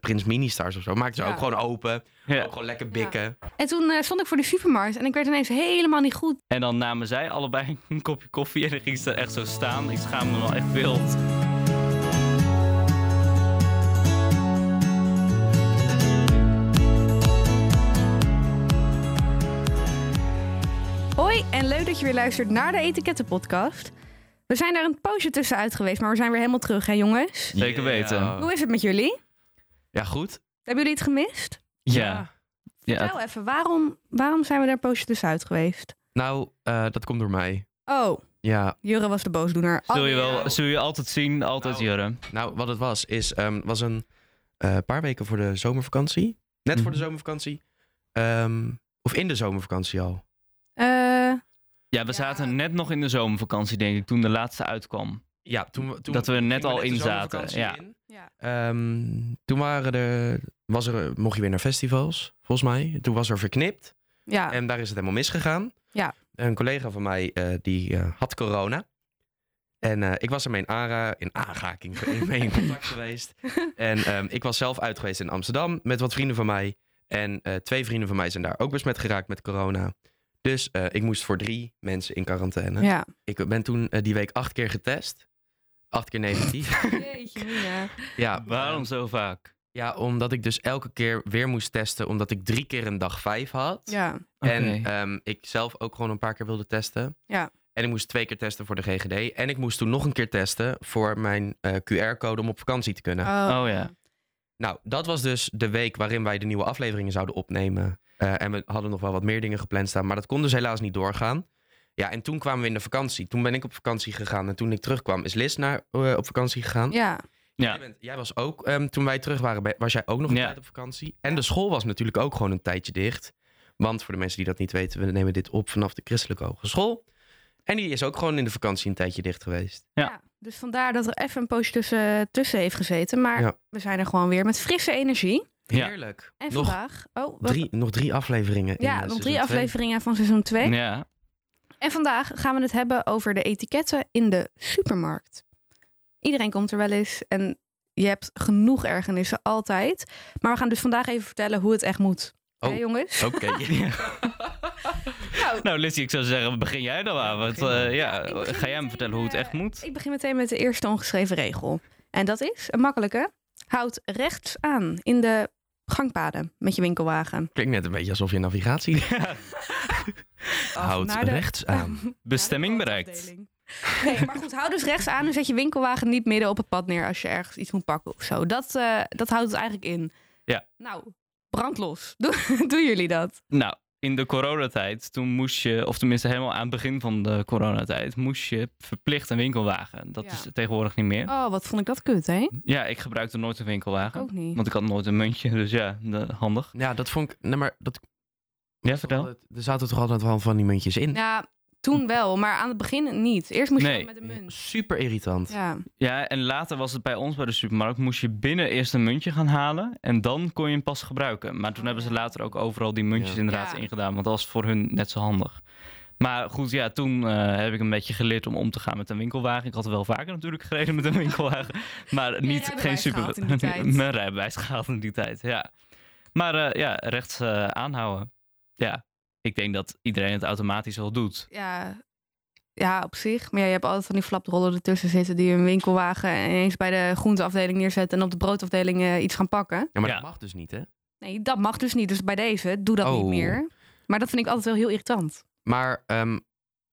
Prins Ministars of zo. Maakt ze Ja. ook gewoon open. Ja. Ook gewoon lekker Ja. bikken. En toen eh, stond ik voor de supermarkt en ik werd ineens helemaal niet goed. En dan namen zij allebei een kopje koffie en dan ging ze echt zo staan. Ik schaamde me wel echt wild. Hoi en leuk dat je weer luistert naar de Etikettenpodcast. We zijn daar een poosje tussenuit geweest, maar we zijn weer helemaal terug, hè jongens? Oh. Zeker weten. Hoe is het met jullie? Ja, goed. Hebben jullie het gemist? Ja. Ja, Vertel even, waarom, waarom zijn we daar een poosje tussenuit geweest? Nou, eh, dat komt door mij. Oh, Ja, Jurre was de boosdoener. Oh, zul je, Alweer. wel, zul je altijd zien, altijd Oh, Nou. Jurre. Nou, wat het was, is ehm was een eh, paar weken voor de zomervakantie. Net voor de Mhm. zomervakantie. Ehm, of in de zomervakantie al. Eh, Ja, we zaten net nog in de zomervakantie, denk ik, toen de laatste uitkwam. Ja, toen, we- toen dat we er net gingen al de in zaten. zomervakantie Ja. in. ja. Ehm, toen waren er, was er, mocht je weer naar festivals, volgens mij. Toen was er verknipt ja. en daar is het helemaal misgegaan. Ja. Een collega van mij, eh, die eh, had corona. En eh, ik was ermee in, Ara, in aanraking, mee in contact geweest. En ehm, ik was zelf uit geweest in Amsterdam met wat vrienden van mij. En eh, twee vrienden van mij zijn daar ook besmet geraakt met corona. Dus eh, ik moest voor drie mensen in quarantaine. ja. Ik ben toen eh, die week acht keer getest. Acht keer negatief. Jeetje, Mina. ja, Ah, Waarom zo vaak? Ja, omdat ik dus elke keer weer moest testen, omdat ik drie keer een dag vijf had. Ja, En Oké. ehm, ik zelf ook gewoon een paar keer wilde testen. Ja. En ik moest twee keer testen voor de GGD. En ik moest toen nog een keer testen voor mijn eh, QR-code om op vakantie te kunnen. oh. oh ja. Nou, dat was dus de week waarin wij de nieuwe afleveringen zouden opnemen. Eh, en we hadden nog wel wat meer dingen gepland staan, maar dat kon dus helaas niet doorgaan. Ja, en toen kwamen we in de vakantie. Toen ben ik op vakantie gegaan en toen ik terugkwam is Liz naar, eh, op vakantie gegaan. ja. Ja. Jij, bent- jij was ook, ehm, toen wij terug waren, bij- was jij ook nog een Ja. tijd op vakantie. En de school was natuurlijk ook gewoon een tijdje dicht. Want voor de mensen die dat niet weten, we nemen dit op vanaf de christelijke hogeschool. En die is ook gewoon in de vakantie een tijdje dicht geweest. Ja. Ja, Dus vandaar dat er even een poosje tussen, tussen heeft gezeten. Maar Ja. we zijn er gewoon weer met frisse energie. Ja. Heerlijk. En nog, vandaag. Oh, wat- drie, nog drie afleveringen. in, ja, eh, nog seizoen drie twee. afleveringen van seizoen 2. ja. En vandaag gaan we het hebben over de etiketten in de supermarkt. Iedereen komt er wel eens en je hebt genoeg ergernissen altijd. Maar we gaan dus vandaag even vertellen hoe het echt moet. Oh. Hé jongens? Oké. Nou, Nou, Lizzie, ik zou zeggen, begin jij dan aan. Want begin eh, ja, Ik begin ga jij hem meteen, vertellen hoe het eh, echt moet? Ik begin meteen met de eerste ongeschreven regel. En dat is, een makkelijke, houd rechts aan in de gangpaden met je winkelwagen. Klinkt net een beetje alsof je navigatie houdt naar de- rechts aan. Bestemming nou, bereikt. Nee, maar goed, hou dus rechts aan en zet je winkelwagen niet midden op het pad neer als je ergens iets moet pakken of zo. Dat, eh, dat houdt het eigenlijk in. Ja. Nou, brandlos. Doe, doen jullie dat? Nou, in de coronatijd, toen moest je, of tenminste helemaal aan het begin van de coronatijd, moest je verplicht een winkelwagen. Dat Ja. is tegenwoordig niet meer. Oh, wat vond ik dat kut, hè? Ja, ik gebruikte nooit een winkelwagen. Ook niet. Want ik had nooit een muntje, dus ja, de- handig. Ja, dat vond ik... Nee, maar dat, Ja, vertel. altijd- er zaten toch altijd wel van die muntjes in? Ja, toen wel, maar aan het begin niet. Eerst moest je Nee. wel met de munt. Super irritant. Ja. Ja, en later was het bij ons bij de supermarkt, moest je binnen eerst een muntje gaan halen en dan kon je hem pas gebruiken. Maar toen Oh, hebben ze ja. later ook overal die muntjes Ja. inderdaad Ja. ingedaan, want dat was voor hun net zo handig. Maar goed, ja, toen eh, heb ik een beetje geleerd om om te gaan met een winkelwagen. Ik had wel vaker natuurlijk gereden met een winkelwagen, maar niet, rijbewijs geen super... gehaald in die tijd. Mijn rijbewijs gehaald in die tijd, ja. Maar eh, ja, rechts eh, aanhouden. Ja, ik denk dat iedereen het automatisch wel doet. ja, ja, op zich. Maar ja, je hebt altijd van die flaprollen ertussen zitten die een winkelwagen ineens bij de groenteafdeling neerzetten en op de broodafdeling eh, iets gaan pakken. Ja, maar Ja. dat mag dus niet, hè? Nee, dat mag dus niet. Dus bij deze, doe dat niet Oh. meer. Maar dat vind ik altijd wel heel irritant. Maar ehm,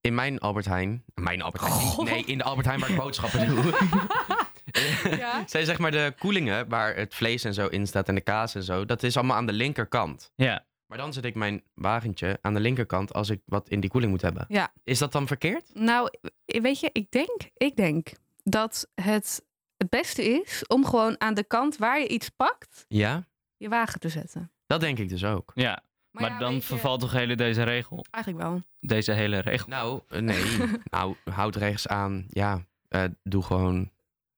in mijn Albert Heijn... Mijn Albert Heijn? niet. God. Nee, in de Albert Heijn waar ik boodschappen doe. Ja. Zijn zeg maar de koelingen waar het vlees en zo in staat en de kaas en zo. Dat is allemaal aan de linkerkant. Ja, Maar dan zet ik mijn wagentje aan de linkerkant als ik wat in die koeling moet hebben. Ja. Is dat dan verkeerd? Nou, weet je, ik denk, ik denk dat het het beste is om gewoon aan de kant waar je iets pakt, Ja. je wagen te zetten. Dat denk ik dus ook. ja. Maar, ja, dan weet je, vervalt toch hele deze regel? Eigenlijk wel. Deze hele regel. Nou, eh, nee. nou, houd rechts aan. Ja, eh, doe gewoon...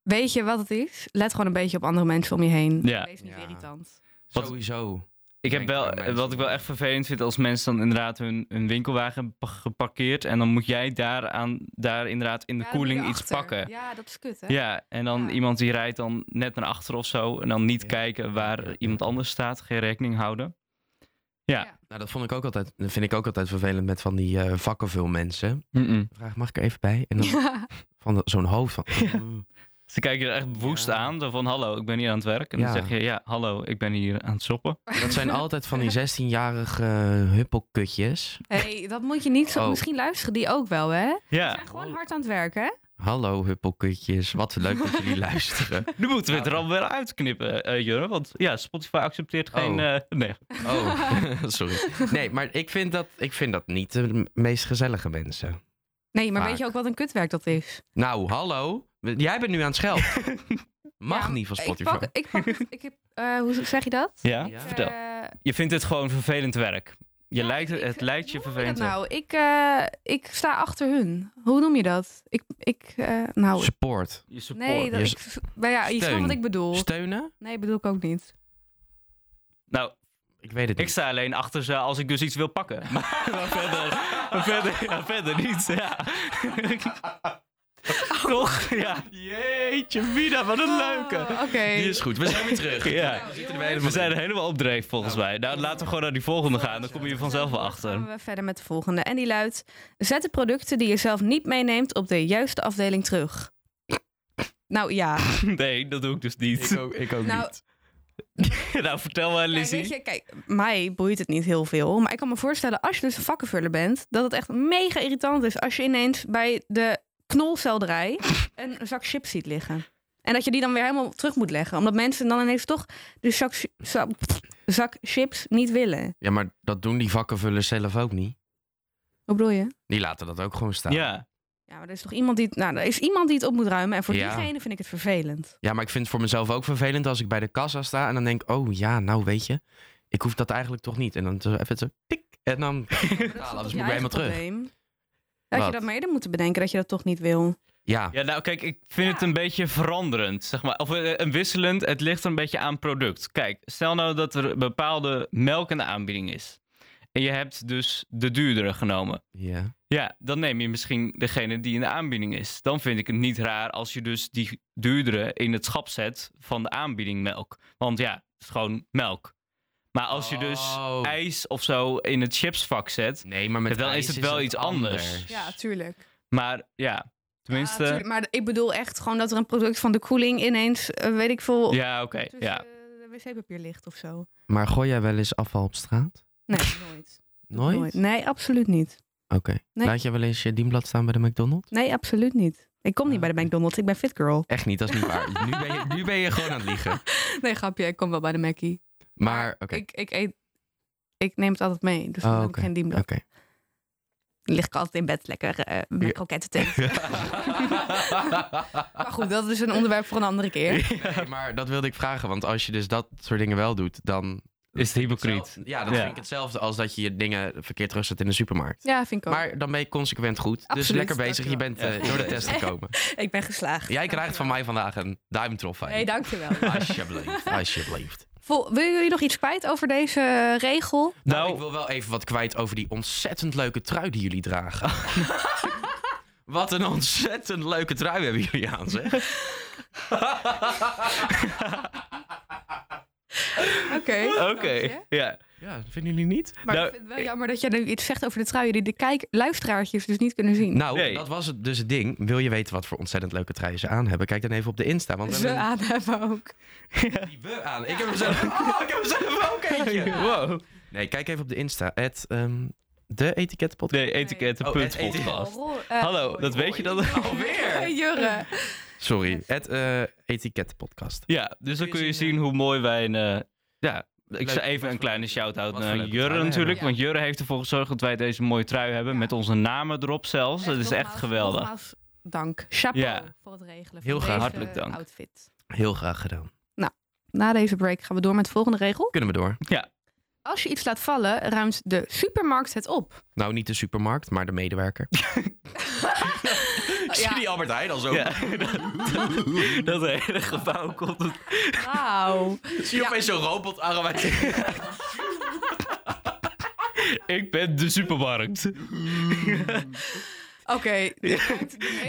Weet je wat het is? Let gewoon een beetje op andere mensen om je heen. Ja. Wees niet Ja. irritant. Wat- Sowieso. Ik heb denk wel, aan mensen wat ik wel die- echt vervelend vind als mensen dan inderdaad hun, hun winkelwagen hebben pa- geparkeerd. En dan moet jij daar, aan, daar inderdaad in de koeling iets pakken. Ja, Ja, dat is kut, hè? en dan Ja. iemand die rijdt dan net naar achter of zo. En dan niet Ja, kijken waar ja, ja. iemand anders staat. Geen rekening houden. Nou, dat vond ik ook altijd, dat vind ik ook altijd vervelend met van die eh vakkenvulmensen. Mm-mm. Vraag, mag ik er even bij? En dan van dat- zo'n hoofd van... mm. Ze Dus kijken je echt woest Ja. aan. Zo van hallo, ik ben hier aan het werk. En Ja. dan zeg je ja, hallo, ik ben hier aan het shoppen. Dat zijn altijd van die 16-jarige huppelkutjes. hey, dat moet je niet zo... Oh. Misschien luisteren die ook wel, hè? Ze Ja, zijn gewoon hard aan het werken, hè? Hallo huppelkutjes, wat leuk dat jullie luisteren. nu moeten we het er alweer uitknippen, eh Jurre. Want ja, Spotify accepteert geen... Oh. eh, nee. Oh, sorry. Nee, maar ik vind dat, ik vind dat niet de m- meest gezellige mensen. Nee, maar Vaak. weet je ook wat een kutwerk dat is? Nou, hallo. We- Jij bent nu aan het schelden. Mag Ja, niet van Ik Spotify. pak... Ik pak ik heb, eh, hoe zeg je dat? Ja? Ja. vertel. Ik, eh, Je vindt het gewoon vervelend werk. Je lijkt, het ik- lijkt je hoe noem vervelend dat werk. nou, ik, eh, ik sta achter hun. Hoe noem je dat? Ik, ik eh, nou, Support. Je support. nee, dat, je ik, nou ja, je snapt steun. wat ik bedoel. Steunen? Nee, bedoel ik ook niet. Nou, Ik weet het ik niet. sta alleen achter ze als ik dus iets wil pakken. Maar, maar verder, maar verder, ja, verder niet. Ja. Toch? Ja. Jeetje, Mina, wat een Ah, leuke. Oké. Die is goed. We zijn weer terug. Ja. We zitten er weer helemaal We zijn in. er helemaal op dreef volgens mij. Nou, laten we gewoon naar die volgende gaan. Dan kom je vanzelf wel Dan achter. gaan we verder met de volgende. En die luidt: Zet de producten die je zelf niet meeneemt op de juiste afdeling terug. Nou ja. Nee, dat doe ik dus niet. Ik ook, ik ook Nou, niet. Nou, vertel maar, kijk, weet Lizzie. je, kijk, mij boeit het niet heel veel. Maar ik kan me voorstellen, als je dus een vakkenvuller bent, dat het echt mega irritant is als je ineens bij de knolselderij een zak chips ziet liggen. En dat je die dan weer helemaal terug moet leggen. Omdat mensen dan ineens toch de zak, chi- zak, zak chips niet willen. Ja, maar dat doen die vakkenvullers zelf ook niet. Hoe bedoel je? Die laten dat ook gewoon staan. Ja. Ja, maar er is toch iemand die, het- nou, er is iemand die het op moet ruimen. En voor Ja. diegene vind ik het vervelend. Ja, maar ik vind het voor mezelf ook vervelend als ik bij de kassa sta en dan denk, oh ja, nou weet je, ik hoef dat eigenlijk toch niet. En dan zo even zo tik en dan is betalen, toch dus je moet ik weer eigen helemaal terug. probleem? Dat je Wat? dat maar eerder moet bedenken, dat je dat toch niet wil. Ja, Ja, nou kijk, ik vind het een beetje veranderend, zeg maar. Of eh, een wisselend, het ligt er een beetje aan product. Kijk, stel nou dat er bepaalde melk in de aanbieding is. En je hebt dus de duurdere genomen. ja. Ja, dan neem je misschien degene die in de aanbieding is. Dan vind ik het niet raar als je dus die duurdere in het schap zet van de aanbieding melk. Want ja, het is gewoon melk. Maar als je dus Oh. ijs of zo in het chipsvak zet. Nee, maar met Dan is ijs het wel iets anders. Ja, tuurlijk. Maar ja, tenminste. Ja, maar ik bedoel echt gewoon dat er een product van de koeling ineens, eh, weet ik veel, oké. tussen ja. eh, wc-papier ligt of zo. Maar gooi jij wel eens afval op straat? Nee, nooit. Nooit? Oké. Nee, absoluut niet. Nee. Laat jij wel eens je dienblad staan bij de McDonald's? Nee, absoluut niet. Ik kom niet Ah, bij de oké. McDonald's, ik ben fit girl. Echt niet, dat is niet waar. nu, ben je, nu ben je gewoon aan het liegen. Nee, grapje, ik kom wel bij de Mackie. Maar, oké. Ik, ik eet, ik neem het altijd mee, dus dan Oh, heb ik oké. geen dienblad. Oké. lig ik altijd in bed lekker eh met kroketten te eten. Maar goed, dat is een onderwerp voor een andere keer. Nee, maar dat wilde ik vragen, want als je dus dat soort dingen wel doet, dan... Is het hypocriet? Ja, dat Ja. vind ik hetzelfde als dat je je dingen verkeerd terugzet in de supermarkt. Ja, vind ik ook. Maar dan ben je consequent goed. dus Absoluut, lekker bezig. Je dankjewel. bent eh, Ja. door de test gekomen. Ik ben geslaagd. Jij krijgt van mij vandaag een duimtrofee. Nee, dankjewel. Alsjeblieft. Alsjeblieft. Vol, wil jullie nog iets kwijt over deze eh, regel? Nou, Nou, ik wil wel even wat kwijt over die ontzettend leuke trui die jullie dragen. wat een ontzettend leuke trui hebben jullie aan, zeg. Oké. Oké, Dank ja. Ja, vinden jullie niet? Maar Nou, ik vind het wel jammer dat je nu iets zegt over de truien die de kijk luisteraartjes dus niet kunnen zien. Nou, Nee. dat was het, dus het ding. Wil je weten wat voor ontzettend leuke trui ze aan hebben? Kijk dan even op de Insta. Want we Ze hebben aan hebben ook. een- die we aan. Ik heb hem zelf, oh, ik heb hem zelf ook eentje. Wow. Nee, kijk even op de Insta. Het, ehm, de etikettenpodcast. Nee, etiketten. Oh, punt het etiket- podcast. Hallo, dat weet je dan Alweer? Jurre. Sorry, het eh etikettenpodcast. Ja, dus dan kun je zien hoe mooi wij een... eh, ja, ik zou even een kleine shout-out Wat voor naar leuke Jurre trui natuurlijk. hebben. Want Jurre heeft ervoor gezorgd dat wij deze mooie trui hebben. Ja. Met onze namen erop zelfs. Dat is dus echt geweldig. Nogmaals, dank. Chapeau Ja. voor het regelen Heel van graag. deze Hartelijk dank. outfit. Heel graag gedaan. Na deze break gaan we door met de volgende regel. Kunnen we door? Als je iets laat vallen, ruimt de supermarkt het op. Nou, niet de supermarkt, maar de medewerker. Ja. Albert Heijn al zo? Ja, dat, dat hele gebouw komt... het- Wauw. Zie je opeens zo'n robotarm uit? Ik ben de supermarkt. Oké.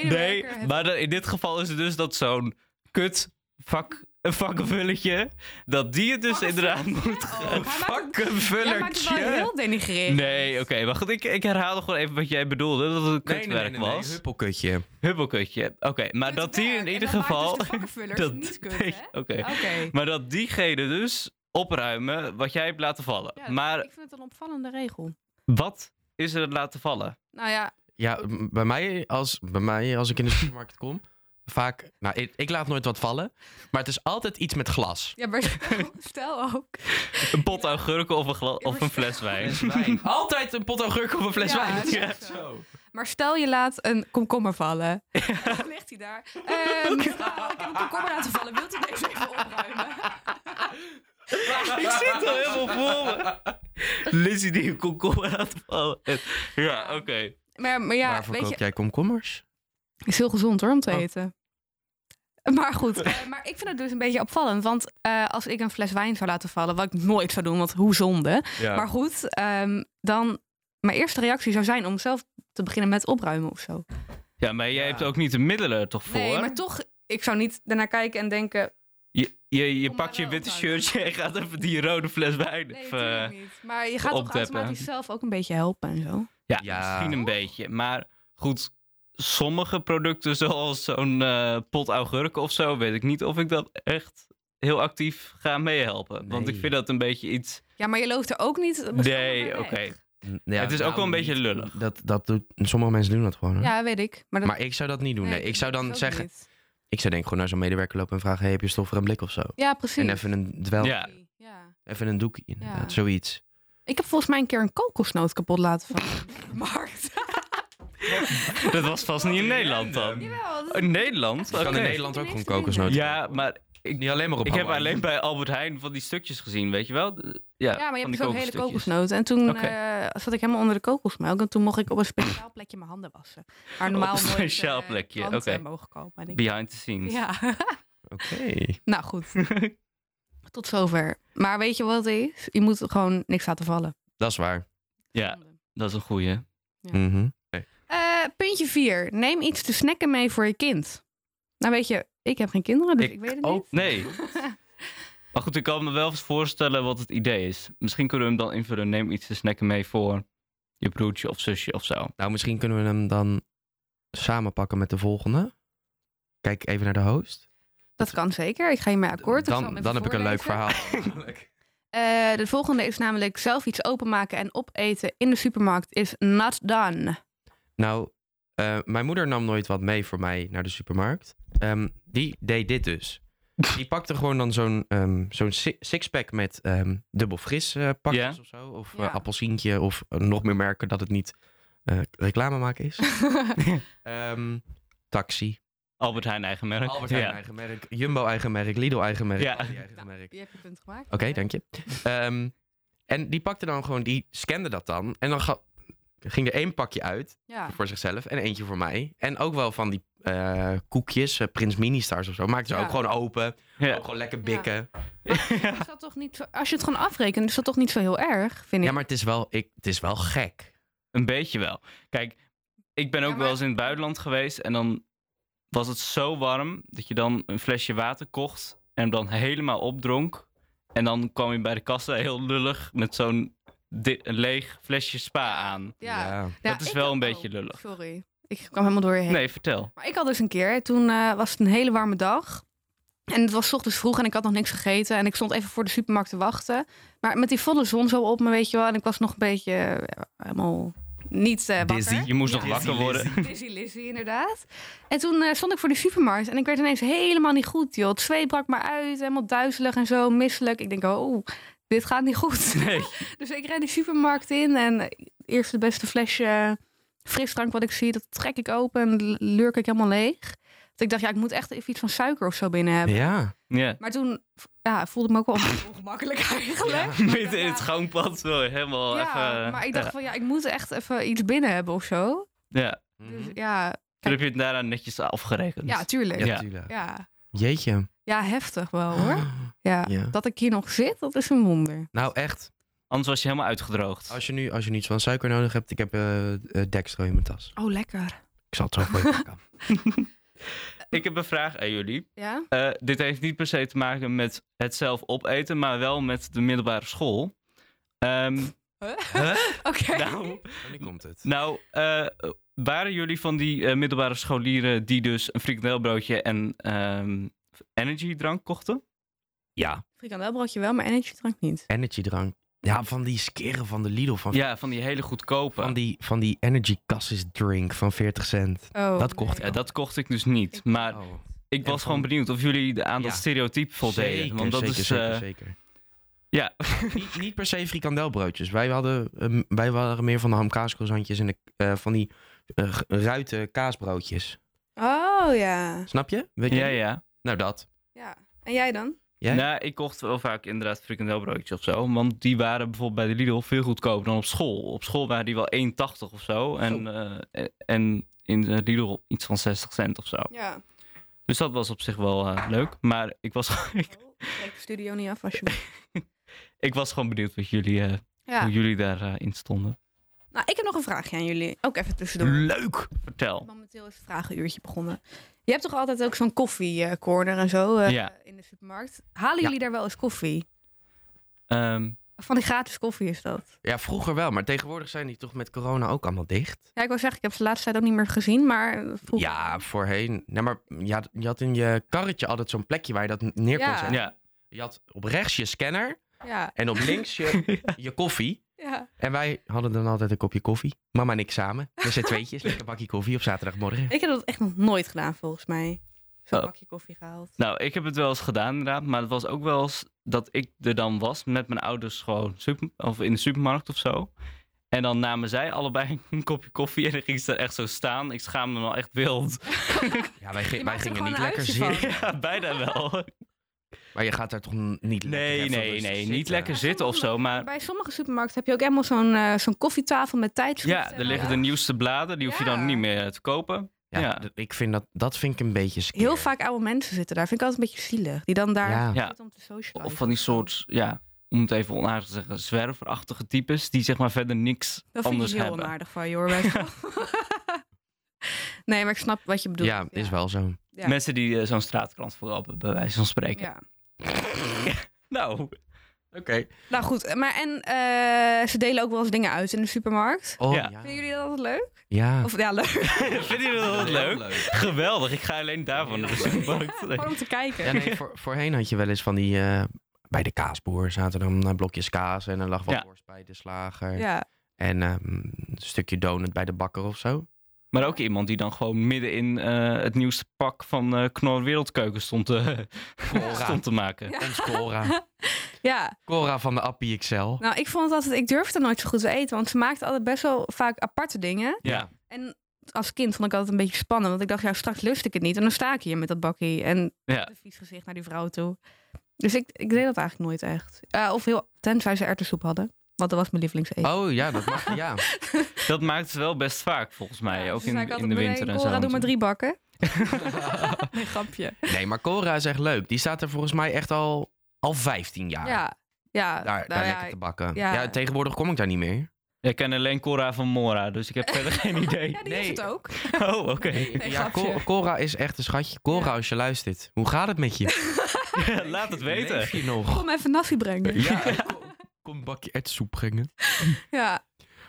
Nee, maar dan- in dit geval is het dus dat zo'n kut vak, een vakkenvulletje, dat die het Oh, dus inderdaad moet... Hij maakt Jij maakt het Vakkenvulletje. wel heel denigrerend. Nee, oké, maar goed, ik, ik herhaal nog gewoon even wat jij bedoelde, dat het een Nee, nee, kutwerk nee, nee, nee, was. huppelkutje. Huppelkutje. Oké, maar Nou, dat die in ieder geval... dat dus niet kut, hè? Oké. Oké. Maar dat diegene dus opruimen wat jij hebt laten vallen. Ja, maar Ik vind het een opvallende regel. wat is er het laten vallen? Nou ja, Ja, m- bij mij, als, bij mij als ik in de supermarkt kom, vaak... Nou, ik, ik laat nooit wat vallen, maar het is altijd iets met glas. ja maar stel- stel ook. Een pot augurken of een, gla- of een fles wijn? altijd een pot augurk of een fles Ja, wijn. dat is echt zo. Maar stel je laat een komkommer vallen. Dan ligt hij daar. Ehm, nou, ik heb een komkommer laten vallen. Wilt u deze even opruimen? ik zit al helemaal voor me. Lizzie die een komkommer laat vallen. Ja, oké. Maar, maar ja, Waarvoor weet koop je, jij komkommers? is heel gezond hoor om te Oh. eten. Maar goed, eh, maar ik vind het dus een beetje opvallend. Want eh, als ik een fles wijn zou laten vallen, wat ik nooit zou doen, want hoe zonde. Ja. Maar goed, ehm, dan mijn eerste reactie zou zijn om zelf te beginnen met opruimen of zo. Ja, maar jij Ja. hebt ook niet de middelen er toch voor? Nee, maar toch, ik zou niet daarnaar kijken en denken. Je, je, je Kom pakt maar je wel witte opruimen. shirtje en gaat even die rode fles wijn. Nee, even, natuurlijk niet. Maar je gaat toch eh, opdeppen. automatisch zelf ook een beetje helpen en zo. Ja, Ja. misschien een beetje. Maar goed, sommige producten zoals zo'n eh, pot augurken of zo, weet ik niet of ik dat echt heel actief ga meehelpen. Want ik Nee. vind dat een beetje iets... Ja, maar je loopt er ook niet. beschermd Nee, mee weg. oké. N- ja, Het is ook wel nou, een beetje niet- lullig. Dat, dat doet, sommige mensen doen dat gewoon. hè? Ja, weet ik. Maar, dat, Maar ik zou dat niet doen. Nee, ik zou dat dan ook zeggen... niet. Ik zou denk ik gewoon naar zo'n medewerker lopen en vragen... Hey, heb je stof voor een blik of zo? Ja, precies. En even een dwel, Ja. Ja. even een doekje inderdaad, Ja. zoiets. Ik heb volgens mij een keer een kokosnoot kapot laten vallen. Markt. Dat was vast niet in Nederland dan. Oh, Jawel. dat is- In Nederland? Kan Oké. in Nederland ook Niks gewoon te doen. kokosnoten. Ja, maar ik, Niet alleen maar op ik heb Hawaii. alleen bij Albert Heijn van die stukjes gezien, weet je wel? De- Ja, Ja, maar je van hebt die zo'n hele kokosnootjes. kokosnoot. En toen Oké. eh, zat ik helemaal onder de kokosmelk. En toen mocht ik op een speciaal plekje mijn handen wassen. Maar normaal Op een nooit, speciaal eh, plekje, klanten oké. mogen kopen. En ik- Behind the scenes. Ja, Oké. nou goed. Tot zover. Maar weet je wat het is? Je moet gewoon niks laten vallen. Dat is waar. Ja, dat is een goeie. Ja. Mhm. Eh, puntje 4. Neem iets te snacken mee voor je kind. Nou weet je, ik heb geen kinderen, dus ik, weet het ook niet. Nee. maar goed, ik kan me wel eens voorstellen wat het idee is. Misschien kunnen we hem dan invullen. Neem iets te snacken mee voor je broertje of zusje of zo. Nou, misschien kunnen we hem dan samenpakken met de volgende. Kijk even naar de host. Dat kan zeker. Ik ga hiermee akkoord. Ik zal hem dan even dan heb ik een leuk voorlezen. verhaal. Eh, de volgende is namelijk zelf iets openmaken en opeten in de supermarkt is not done. nou, eh, mijn moeder nam nooit wat mee voor mij naar de supermarkt. Ehm, die deed dit dus. Die pakte gewoon dan zo'n ehm, zo'n si- sixpack met ehm, dubbel fris eh, pakjes Ja. of zo. Of eh, Ja. appelsientje of eh, nog meer merken dat het niet eh, reclame maken is. Ehm, taxi. Albert Heijn eigen merk. Albert Heijn ja. eigen merk, Jumbo eigen merk, Lidl eigen merk, Ja. Aldi eigen merk. Je hebt je punt gemaakt. Oké, dank je. Ehm, en die pakte dan gewoon, die scande dat dan. En dan ga- ging er één pakje uit Ja. voor zichzelf en eentje voor mij. En ook wel van die eh, koekjes, eh, Prins Mini-stars of zo. Maakte ze Ja. ook gewoon open. Ja. Ook gewoon lekker bikken. Ja. Is dat toch niet zo- als je het gewoon afrekent, is dat toch niet zo heel erg, vind ik. maar het is, wel, ik, het is wel gek. Een beetje wel. Kijk, ik ben ook Ja, maar- wel eens in het buitenland geweest en dan was het zo warm dat je dan een flesje water kocht en hem dan helemaal opdronk. En dan kwam je bij de kassa heel lullig met zo'n di- een leeg flesje spa aan. dat is ik wel had- een oh, beetje lullig. Sorry, ik kwam helemaal door je heen. Nee, vertel. Maar ik had dus een keer, toen eh, was het een hele warme dag. En het was 's ochtends vroeg en ik had nog niks gegeten. En ik stond even voor de supermarkt te wachten. Maar met die volle zon zo op me, weet je wel. En ik was nog een beetje eh, helemaal niet eh wakker. Dizzy. Je moest Ja. nog wakker worden. Dizzy Lizzy, inderdaad. En toen eh, stond ik voor de supermarkt en ik werd ineens helemaal niet goed, joh. Het zweet brak maar uit, helemaal duizelig en zo, misselijk. Ik denk, oh, dit gaat niet goed. Nee. dus ik ren die supermarkt in en eh, eerst het beste flesje eh, frisdrank wat ik zie, dat trek ik open en l- lurk ik helemaal leeg. Want ik dacht, ja, ik moet echt even iets van suiker of zo binnen hebben. Ja. Ja. Maar toen ja, voelde ik me ook wel ongemakkelijk eigenlijk. Ja. Maar ik dacht, Midden in ja, het gangpad zo helemaal ja, even... eh, maar ik dacht van ja, ik moet echt even iets binnen hebben of zo. Ja, ja. Dus ja, toen heb je het daarna netjes afgerekend. ja tuurlijk. mhm. Ja, Ja. tuurlijk. Ja. Jeetje. ja, heftig wel hoor. Ja. Ah, Ja. Dat ik hier nog zit, dat is een wonder. Nou, echt. Anders was je helemaal uitgedroogd. Als je nu als je niets van suiker nodig hebt, ik heb eh eh, dextro in mijn tas. Oh, lekker. Ik zal het zo voor je pakken. Ik heb een vraag aan jullie. Ja? Eh, dit heeft niet per se te maken met het zelf opeten, maar wel met de middelbare school. Ehm, Huh? Oké. nou, En nu komt het. nou eh, waren jullie van die eh, middelbare scholieren die dus een frikandelbroodje en ehm energiedrank kochten? Ja. Frikandelbroodje wel, maar energiedrank niet. Energydrank. Ja, van die skeren van de Lidl. Van, Ja, van die hele goedkope. van die, van die energy cassis drink van 40 cent. Oh, Dat kocht Ja, dat kocht ik dus niet. Ik- Maar Oh. ik En was van- gewoon benieuwd of jullie aan dat Ja. stereotype voldeden. Zeker, want dat zeker, is. zeker, eh, zeker. Ja, niet, niet per se frikandelbroodjes. Wij, hadden, ehm, wij waren meer van de hamkaaskozantjes en de, eh, van die eh, g- ruiten kaasbroodjes. Oh, ja. Snap je? Weet je? ja, ja. Nou, dat. ja. En jij dan? Jij? Nou, ik kocht wel vaak inderdaad frikandelbroodjes of zo. Want die waren bijvoorbeeld bij de Lidl veel goedkoper dan op school. Op school waren die wel 1,80 of zo. En, eh, en in de Lidl iets van 60 cent of zo. Ja. Dus dat was op zich wel eh, leuk. Maar ik was, ik, Kijk de studio niet af alsjeblieft. ik was gewoon benieuwd wat jullie, eh, hoe Ja. jullie daarin in stonden. Nou, ik heb nog een vraagje aan jullie. Ook even tussendoor. Leuk! Vertel. Momenteel is het vragenuurtje begonnen. Je hebt toch altijd ook zo'n koffiecorner en zo eh, Ja. in de supermarkt. Halen Ja. jullie daar wel eens koffie? Ehm, Van die gratis koffie is dat. Ja, vroeger wel, maar tegenwoordig zijn die toch met corona ook allemaal dicht. Ja, ik wil zeggen, ik heb ze de laatste tijd ook niet meer gezien, maar eh, vroeger. Ja, voorheen. Nee, maar ja, je had in je karretje altijd zo'n plekje waar je dat neer kon Ja. zetten. ja. Je had op rechts je scanner Ja. en op links je, je koffie. ja. En wij hadden dan altijd een kopje koffie. Mama en ik samen. Met z'n tweetjes. Lekker bakje koffie op zaterdagmorgen. Ik heb dat echt nog nooit gedaan, volgens mij. Zo'n Oh. bakje koffie gehaald. Nou, ik heb het wel eens gedaan inderdaad. Maar het was ook wel eens dat ik er dan was met mijn ouders gewoon super, of in de supermarkt of zo. En dan namen zij allebei een kopje koffie en dan ging ze er echt zo staan. Ik schaamde me al echt wild. Ja, wij, Je gi- wij maakt er gingen gewoon niet een lekker uitje van. zitten. Ja, bijna wel. Maar je gaat daar toch n- niet lekker Nee, even nee, rustig nee. Niet zitten? lekker zitten of zo. Maar Bij sommige supermarkten heb je ook helemaal zo'n eh, zo'n koffietafel met tijdschriften. ja, en er al. liggen de nieuwste bladen. Die hoef je Ja. dan niet meer te kopen. Ja, Ja. d- Ik vind dat, dat vind ik een beetje skeer. Heel vaak oude mensen zitten daar. Vind ik altijd een beetje zielig. Die dan daar Ja. Ja. zitten om te socializen. Of van die soort, ja, om het even onaardig te zeggen, zwerverachtige types. Die zeg maar verder niks Dat vind anders ik heel hebben. onaardig van je hoor. best wel. nee, maar ik snap wat je bedoelt. Ja, is wel zo. Ja. Mensen die eh, zo'n straatkrant verkopen, bij wijze van spreken. Ja. Nou, oké. Nou goed, maar en eh, ze delen ook wel eens dingen uit in de supermarkt. Oh, Ja. ja. Vinden jullie dat leuk? Ja. Of ja, leuk. Vinden jullie dat Heel leuk? Geweldig, ik ga alleen daarvan naar de supermarkt. Gewoon om te kijken. Ja, nee, voor, voorheen had je wel eens van die... eh, bij de kaasboer zaten dan eh, blokjes kaas en er lag wat Ja. worst bij de slager. Ja. En ehm, een stukje donut bij de bakker of zo. Maar ook iemand die dan gewoon midden in eh, het nieuwste pak van eh Knor Wereldkeuken stond te, stond te maken. Ja. En Cora. ja, Cora van de Appie XL. nou ik vond altijd, ik durfde nooit zo goed te eten, want ze maakten altijd best wel vaak aparte dingen. Ja. En als kind vond ik altijd een beetje spannend, want ik dacht, ja, straks lust ik het niet. En dan sta ik hier met dat bakkie en Ja. een vies gezicht naar die vrouw toe. Dus ik, ik deed dat eigenlijk nooit echt. Eh, of heel, tenzij ze erwtensoep hadden, want dat was mijn lievelingseten. Oh ja, dat mag. Ja. Dat maakt ze wel best vaak volgens mij, Ja, ook dus dan zei in, ik in altijd, de "Beneden, winter en zo. Cora, doe maar natuurlijk. drie bakken. nee, grapje. Nee, maar Cora is echt leuk. Die staat er volgens mij echt al, al 15 jaar. Ja, ja. Daar, daar nou ja, lekker te bakken. ja. ja, tegenwoordig kom ik daar niet meer. Ik ken alleen Cora van Mora, dus ik heb verder geen idee. ja, die is het ook. Oh, oké. Nee, ja, grapje. Cor- Cora is echt een schatje. Cora, Ja. als je luistert, hoe gaat het met je? Ja, Laat het weten. Leef je nog? Kom even nasi brengen. Ja, kom- kom een bakje ertsoep brengen. Ja,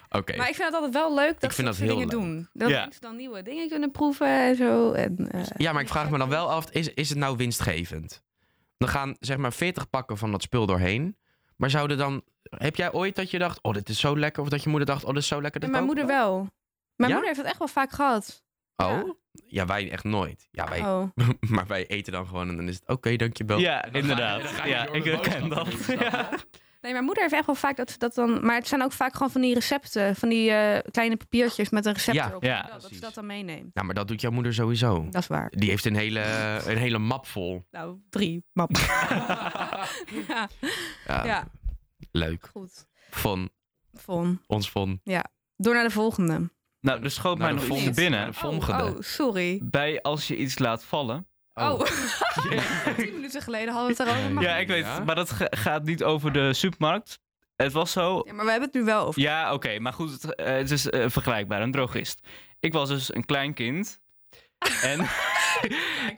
Oké. maar ik vind het altijd wel leuk vind dat ze dat dat heel dingen leuk. doen. Dat Ja. mensen dan nieuwe dingen kunnen proeven en zo. En, eh, Ja, maar ik vraag me dan wel af, is, is het nou winstgevend? Dan gaan zeg maar 40 pakken van dat spul doorheen. Maar zouden dan... Heb jij ooit dat je dacht, oh, dit is zo lekker? Of dat je moeder dacht, oh, dit is zo lekker? dat en mijn koop ik moeder wel. Mijn Ja? moeder heeft dat echt wel vaak gehad. wel. Oh? Ja, wij echt nooit. Ja, wij, Oh. maar wij eten dan gewoon en dan is het oké, dankjewel. dan Ja, ga je- dan inderdaad. ga je Ja, door de ik boodschappen ken dat. doen, snap je? Ja. Nee, mijn moeder heeft echt wel vaak dat ze dat dan... Maar het zijn ook vaak gewoon van die recepten. Van die eh, kleine papiertjes met een recept Ja, erop. ja, dat, dat precies. ze dat dan meeneemt. Nou, maar dat doet jouw moeder sowieso. Dat is waar. Die heeft een hele, een hele map vol. Nou, drie map. ja, Ja, ja, Leuk. goed. Van Von. ons van. Door naar de volgende. Nou, er schoot mij Naar de nog volgende. iets binnen. Naar de volgende. Oh, oh, sorry. Bij als je iets laat vallen. Oh, tien minuten geleden hadden we het erover. maar- Ja, ik weet Ja? het. Maar dat ge- gaat niet over de supermarkt. Het was zo. Ja, maar we hebben het nu wel over. Ja, oké, maar goed, het, eh, het is eh, vergelijkbaar, een drogist. Ik was dus een klein kind. En,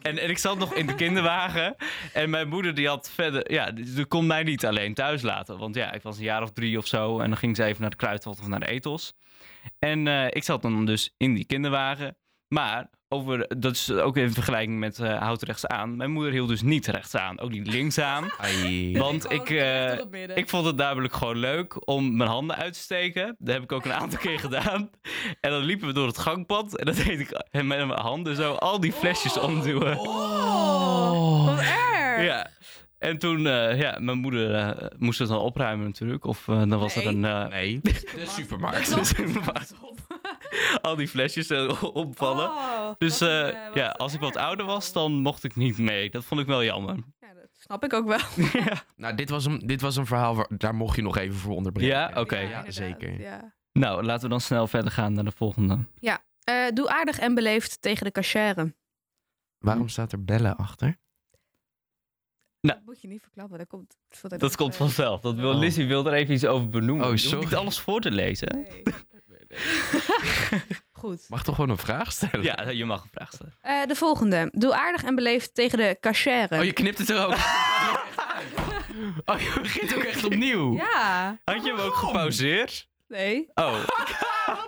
en, en ik zat nog in de kinderwagen. En mijn moeder die had verder... Ja, die, die kon mij niet alleen thuis laten. Want ja, ik was een jaar of drie of zo. En dan ging ze even naar de Kruidvat of naar de Ethos. En eh, ik zat dan dus in die kinderwagen. Maar over, dat is ook in vergelijking met eh houd rechts aan. Mijn moeder hield dus niet rechts aan. Ook niet links aan. Ai. Want ik... eh, ik ik, vond het namelijk gewoon leuk om mijn handen uit te steken. Dat heb ik ook een aantal keer gedaan. En dan liepen we door het gangpad. En dan deed ik met mijn handen zo al die flesjes omduwen. oh, wat erg. Ja. En toen, eh, ja, mijn moeder eh, moest het dan opruimen natuurlijk. Of eh, dan was het Nee. een... eh, Nee, de supermarkt. Dat is al die flesjes eh, opvallen. Oh, dus wat een, eh, eh, wat ja, een als ik wat erg. ouder was, dan mocht ik niet mee. Dat vond ik wel jammer. Ja, dat snap ik ook wel. ja. Nou, dit was, een, dit was een verhaal, waar, daar mocht je nog even voor onderbreken. Ja, oké. Ja, inderdaad, zeker. Ja. Nou, laten we dan snel verder gaan naar de volgende. Eh, doe aardig en beleefd tegen de cachère. Waarom staat er bellen achter? Dat moet je niet verklappen. Dat komt, Dat eh, komt vanzelf. Dat wil, Oh. Lizzie wil er even iets over Oh, benoemen. Je hoeft sorry. niet alles voor te lezen. Nee. Goed. Mag toch gewoon een vraag stellen? Ja, je mag een vraag stellen. Eh, de volgende. Doe aardig en beleefd tegen de cachère. Oh, je knipt het er ook. oh, je begint ook echt opnieuw. Ja. Had je hem ook gepauzeerd? Nee. Oh,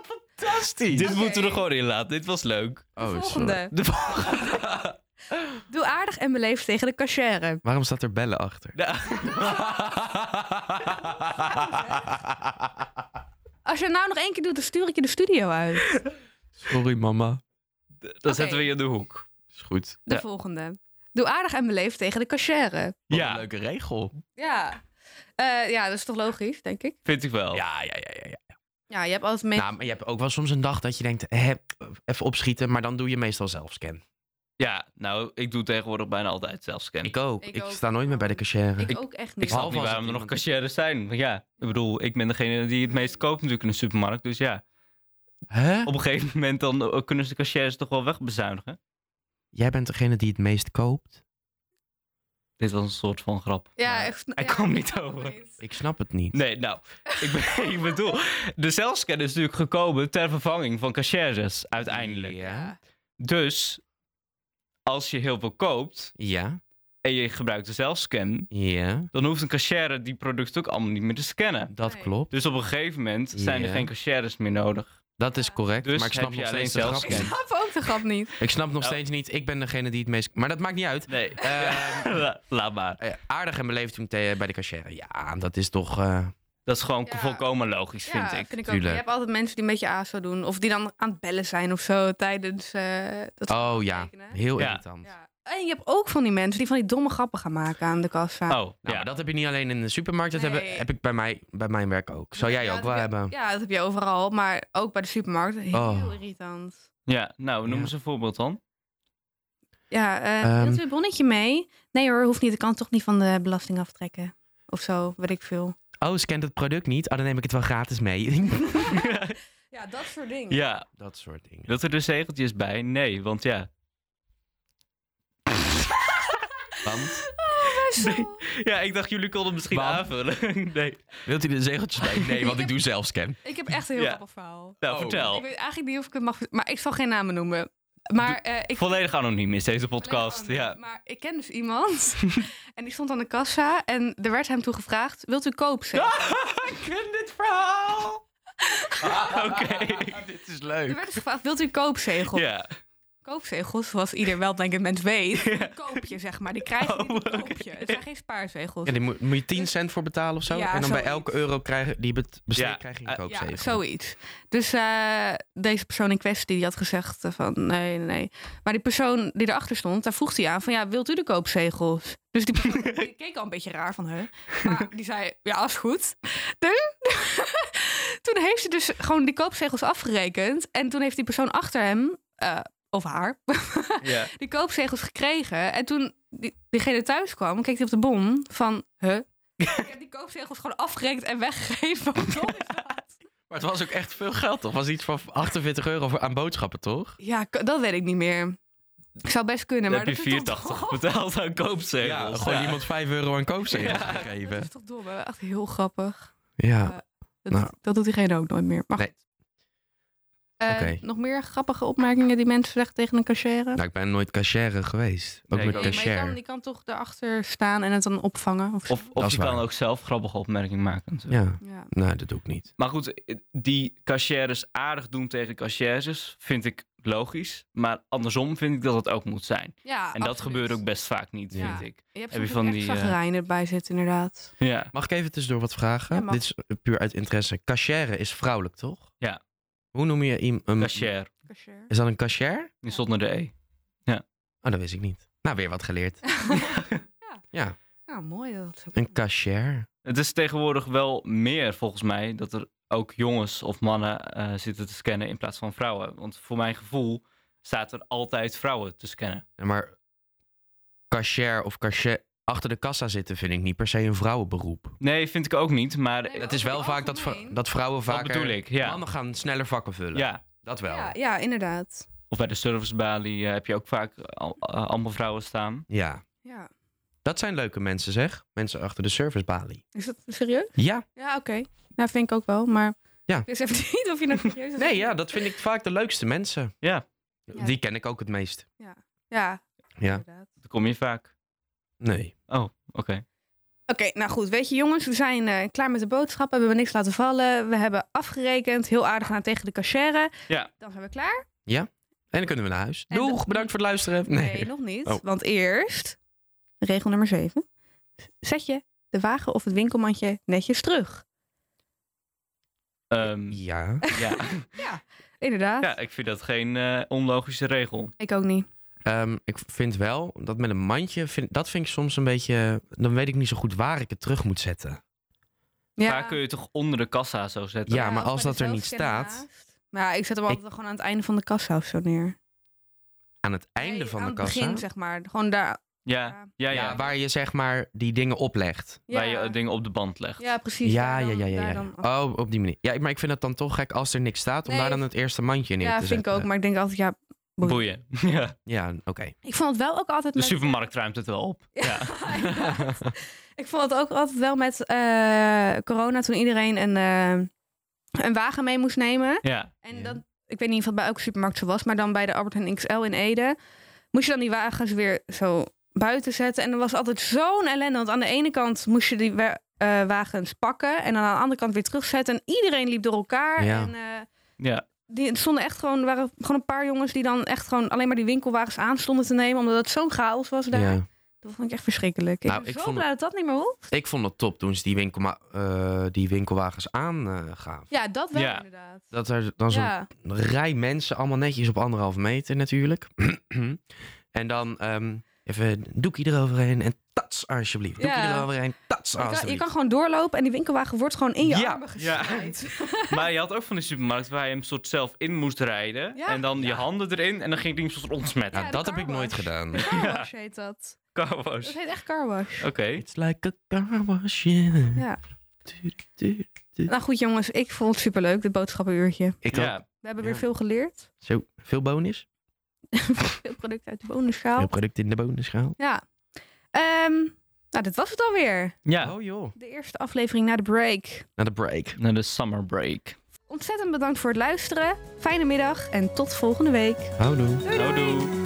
Fantastisch. dit Oké. moeten we er gewoon in laten. Dit was leuk. Oh, sorry. volgende. De volgende. Doe aardig en beleefd tegen de cachère. Waarom staat er bellen achter? Nou. Als je het nou nog één keer doet, dan stuur ik je de studio uit. Sorry, mama. Dan zetten we je in de hoek. Is goed. De Ja. volgende. Doe aardig en beleefd tegen de cachère. Wat Ja. een leuke regel. Ja. Eh, ja, dat is toch logisch, denk ik. Vind ik wel. Ja, ja, ja, ja. ja. Ja, je hebt altijd mee. Nou, maar je hebt ook wel soms een dag dat je denkt, hè, even opschieten, maar dan doe je meestal zelfscan. Ja, nou, ik doe tegenwoordig bijna altijd zelfscan. Ik ook. Ik Ik, ook. sta nooit meer bij de cashier. ik, Nou, ik- ook echt niet. Ik snap Behalve niet als waarom het er nog iemand is. cashières zijn. Want ja, ik bedoel, ik ben degene die het meest koopt natuurlijk in de supermarkt. Dus ja, Hè? op een gegeven moment dan eh, kunnen ze de cashiers toch wel wegbezuinigen. Jij bent degene die het meest koopt? Dit was een soort van grap. ja, maar- ik, Hij ja, kwam ik niet snap over. het niet. Ik snap het niet. Nee, nou, ik, ben, ik bedoel, de zelfscan is natuurlijk gekomen ter vervanging van cashiers uiteindelijk. Ja. Dus als je heel veel koopt Ja. en je gebruikt de zelfscan, Ja. dan hoeft een cashier die producten ook allemaal niet meer te scannen. Dat Nee. klopt. Dus op een gegeven moment zijn Ja. er geen cashiers meer nodig. Dat is correct. Dus maar ik heb snap je nog alleen steeds de grap zelfscan. niet. Ik snap ook de grap niet. Ik snap nog Nou. steeds niet. Ik ben degene die het meest. Maar dat maakt niet uit. Nee, Eh, laat maar. eh, aardig en beleefd toen te- eh, bij de cashier. Ja, dat is toch. eh, Dat is gewoon Ja. volkomen logisch, vind ja, ik. vind ik ook. Je tuurlijk. hebt altijd mensen die een beetje ASO doen. Of die dan aan het bellen zijn of zo tijdens eh, dat Oh ja, tekenen. heel Ja. irritant. Ja. En je hebt ook van die mensen die van die domme grappen gaan maken aan de kassa. Oh, Nou, ja. maar dat heb je niet alleen in de supermarkt. Dat Nee. heb, heb ik bij, mij, bij mijn werk ook. Zou jij Ja, ook dat wel heb je- hebben? Ja, dat heb je overal. Maar ook bij de supermarkt. Heel Oh. irritant. ja, nou, noem Ja. eens een voorbeeld dan. Ja, eh Ehm. wilt u het bonnetje mee? Nee hoor, hoeft niet. Ik kan het toch niet van de belasting aftrekken. Of zo, weet ik veel. Oh, scant het product niet? Oh, dan neem ik het wel gratis mee. Ja, dat soort dingen. Ja, dat soort dingen. dat er dus zegeltjes bij? Nee, want ja. Want? Ah, Ja, ik dacht jullie konden misschien Want- aanvullen. Nee. Wilt u de zegeltjes bij? Nee, want ik doe zelfscan. Ik heb echt een heel Ja. grappig verhaal. Nou, Oh. vertel. Ik weet eigenlijk niet of ik het mag... Maar ik zal geen namen noemen. Maar eh, ik... Volledig anoniem is deze podcast. Alleen Ja. maar- Maar ik ken dus iemand. en die stond aan de kassa. En er werd hem toe gevraagd: Wilt u koop zeggen? ik ken dit verhaal. Oké. Dit is Er leuk. werd dus gevraagd: Wilt u koopzegel? Ja. Koopzegels, zoals ieder weldenkend mens weet. die Koop je zeg maar. Die krijg je niet, die Oh, koop oké. je. Het zijn geen spaarzegels. Ja, die moet, moet je 10 cent voor betalen of zo? Ja, en dan bij zoiets. elke euro krijg, die bet- besteed Ja, krijg je eh, een koopzegel. Ja, zoiets. Dus eh, deze persoon in kwestie die had gezegd eh, van nee, nee, nee. Maar die persoon die erachter stond, daar vroeg hij aan van ja, wilt u de koopzegels? Dus die persoon die keek al een beetje raar van hè. Maar die zei ja, is goed. Dus, toen heeft ze dus gewoon die koopzegels afgerekend. En toen heeft die persoon achter hem, eh, of haar, ja. die koopzegels gekregen. En toen die, diegene thuis kwam, keek hij op de bon van huh? Ik heb die koopzegels gewoon afgerekend en weggegeven. Wat dom is dat? Maar het was ook echt veel geld, toch? was iets van 48 euro voor, aan boodschappen, toch? Ja, k- dat weet ik niet meer. Ik zou best kunnen, Dan maar heb je dat is toch 84 dom? betaald aan koopzegels. gewoon iemand 5 euro aan koopzegels Ja. gegeven. Dat is toch dom, hè? Echt heel grappig. Ja. Dat, Nou. dat doet diegene ook nooit meer. Maar Nee. goed. Eh, Oké. Nog meer grappige opmerkingen die mensen zeggen tegen een cashier? Nou, ik ben nooit cachère geweest. Ook Nee, met ik ook maar je kan, cachère. die kan toch erachter staan en het dan opvangen? Of, zo. Of, Dat of is je waar. kan ook zelf grappige opmerkingen maken. natuurlijk. Ja, ja. nou, dat doe ik niet. Maar goed, die cashiers aardig doen tegen cashiers vind ik logisch. Maar andersom vind ik dat het ook moet zijn. ja, En dat gebeurt ook best vaak niet, Ja. vind ik. Je hebt heb je soms van ook die, echt eh, zagrijnen erbij zitten, inderdaad. Ja. Mag ik even tussendoor wat vragen? Ja, mag. Dit is puur uit interesse. Cachère is vrouwelijk, toch? Ja. Hoe noem je iem- een... Cashier, Cashier. Is dat een cachère? zonder de E. Oh, dat wist ik niet. Nou, weer wat geleerd. Ja, nou, mooi dat. een cachère. Het is tegenwoordig wel meer, volgens mij, dat er ook jongens of mannen eh, zitten te scannen in plaats van vrouwen. Want voor mijn gevoel staat er altijd vrouwen te scannen. Ja, Maar cachère of cachère... Achter de kassa zitten vind ik niet per se een vrouwenberoep. Nee, vind ik ook niet, maar Nee, Het is wel Over het vaak dat, vrou- algemeen. dat vrouwen dat vaker... bedoel ik. Ja. Mannen gaan sneller vakken vullen. ja. Dat wel. Ja, Ja. ja, inderdaad. Of bij de servicebalie eh, heb je ook vaak al- eh, allemaal vrouwen staan. Ja. Dat zijn leuke mensen, zeg. Mensen achter de servicebalie. Is dat serieus? Ja. Ja, oké. Nou, vind ik ook wel, maar... Ja. Ik wist even niet of je nou serieus was. Nee, ja, dat vind ik vaak de leukste mensen. Ja. Ja. Die ken ik ook het meest. Ja, Ja. inderdaad. Daar kom je vaak. Nee. Oh, oké. Oké, nou goed. Weet je jongens, we zijn eh, klaar met de boodschappen. We hebben niks laten vallen. We hebben afgerekend. Heel aardig aan tegen de cashier. Ja. Dan zijn we klaar. En dan kunnen we naar huis. En Doeg, dat- bedankt voor het luisteren. Nee, Nee. nog niet. Oh. Want eerst, regel nummer 7. Zet je de wagen of het winkelmandje netjes terug. Ehm, Ja. ja. Inderdaad. ja, ik vind dat geen eh, onlogische regel. Ik ook niet. Ehm, ik vind wel dat met een mandje, vind, dat vind ik soms een beetje. Dan weet ik niet zo goed waar ik het terug moet zetten. Ja, Daar kun je toch onder de kassa zo zetten? Ja. maar als bij dat de er niet zelfscanner staat- naast. Nou, ik zet hem altijd gewoon aan het einde van de kassa of zo neer. Aan het einde Nee, van aan de kassa. het begin, zeg maar. Gewoon daar. Ja, ja, ja. ja, waar je zeg maar die dingen oplegt. Waar je eh, dingen op de band legt. Ja, precies. ja, daar dan- ja, ja, ja, daar ja. dan- Oh, op die manier. Ja, maar ik vind het dan toch gek als er niks staat om Nee. daar dan het eh, eerste mandje neer Ja, te vind zetten. ik ook. Maar ik denk altijd, ja... Boeien. Ja. Ja, oké. Ik vond het wel ook altijd De met... supermarkt ruimt het wel op. Ja. inderdaad. ik vond het ook altijd wel met eh, corona toen iedereen een, eh, een wagen mee moest nemen. Ja. En Ja. dat, ik weet niet of dat bij elke supermarkt zo was, maar dan bij de Albert Heijn XL in Ede moest je dan die wagens weer zo buiten zetten. En er was altijd zo'n ellende, want aan de ene kant moest je die wa- eh, wagens pakken en dan aan de andere kant weer terugzetten. En iedereen liep door elkaar. Ja. En, eh, Ja. die er stonden echt gewoon, er waren gewoon een paar jongens die dan echt gewoon alleen maar die winkelwagens aan stonden te nemen, omdat het zo'n chaos was daar. Ja. Dat vond ik echt verschrikkelijk. Nou, ik ben ik zo vond blij dat dat niet meer hoeft. Ik vond het top toen ze die, winkelma- eh, die winkelwagens aangaven. Ja, dat wel Ja. inderdaad. Dat er dan zo'n ja. een rij mensen, allemaal netjes op anderhalve meter natuurlijk. en dan ehm even een doekje eroverheen en tats alsjeblieft. Doekje Ja. eroverheen, tats Je, kan, je alsjeblieft. kan gewoon doorlopen en die winkelwagen wordt gewoon in je Ja. armen Ja. gesneden. Maar je had ook van die supermarkt waar je hem soort zelf in moest rijden. Ja. En dan je Ja. handen erin en dan ging die hem soort ontsmetten. Nou, Ja, de dat heb ik carwash. nooit gedaan. Carwash heet dat. Carwash. Dat heet echt carwash. Oh. Oké. It's like a car wash, yeah. Ja. Du- du- Nou goed jongens, ik vond het superleuk, dit boodschappenuurtje. Ik ook. Ja. We hebben Ja. weer veel geleerd. Zo, veel bonus. Veel producten uit de bonusschaal. Veel producten in de bonusschaal. Ja. Ehm, nou, dit was het alweer. ja. Oh joh. De eerste aflevering na de break. Na de break. Naar de summer break. Ontzettend bedankt voor het luisteren. Fijne middag en tot volgende week. Houdoe. Houdoe.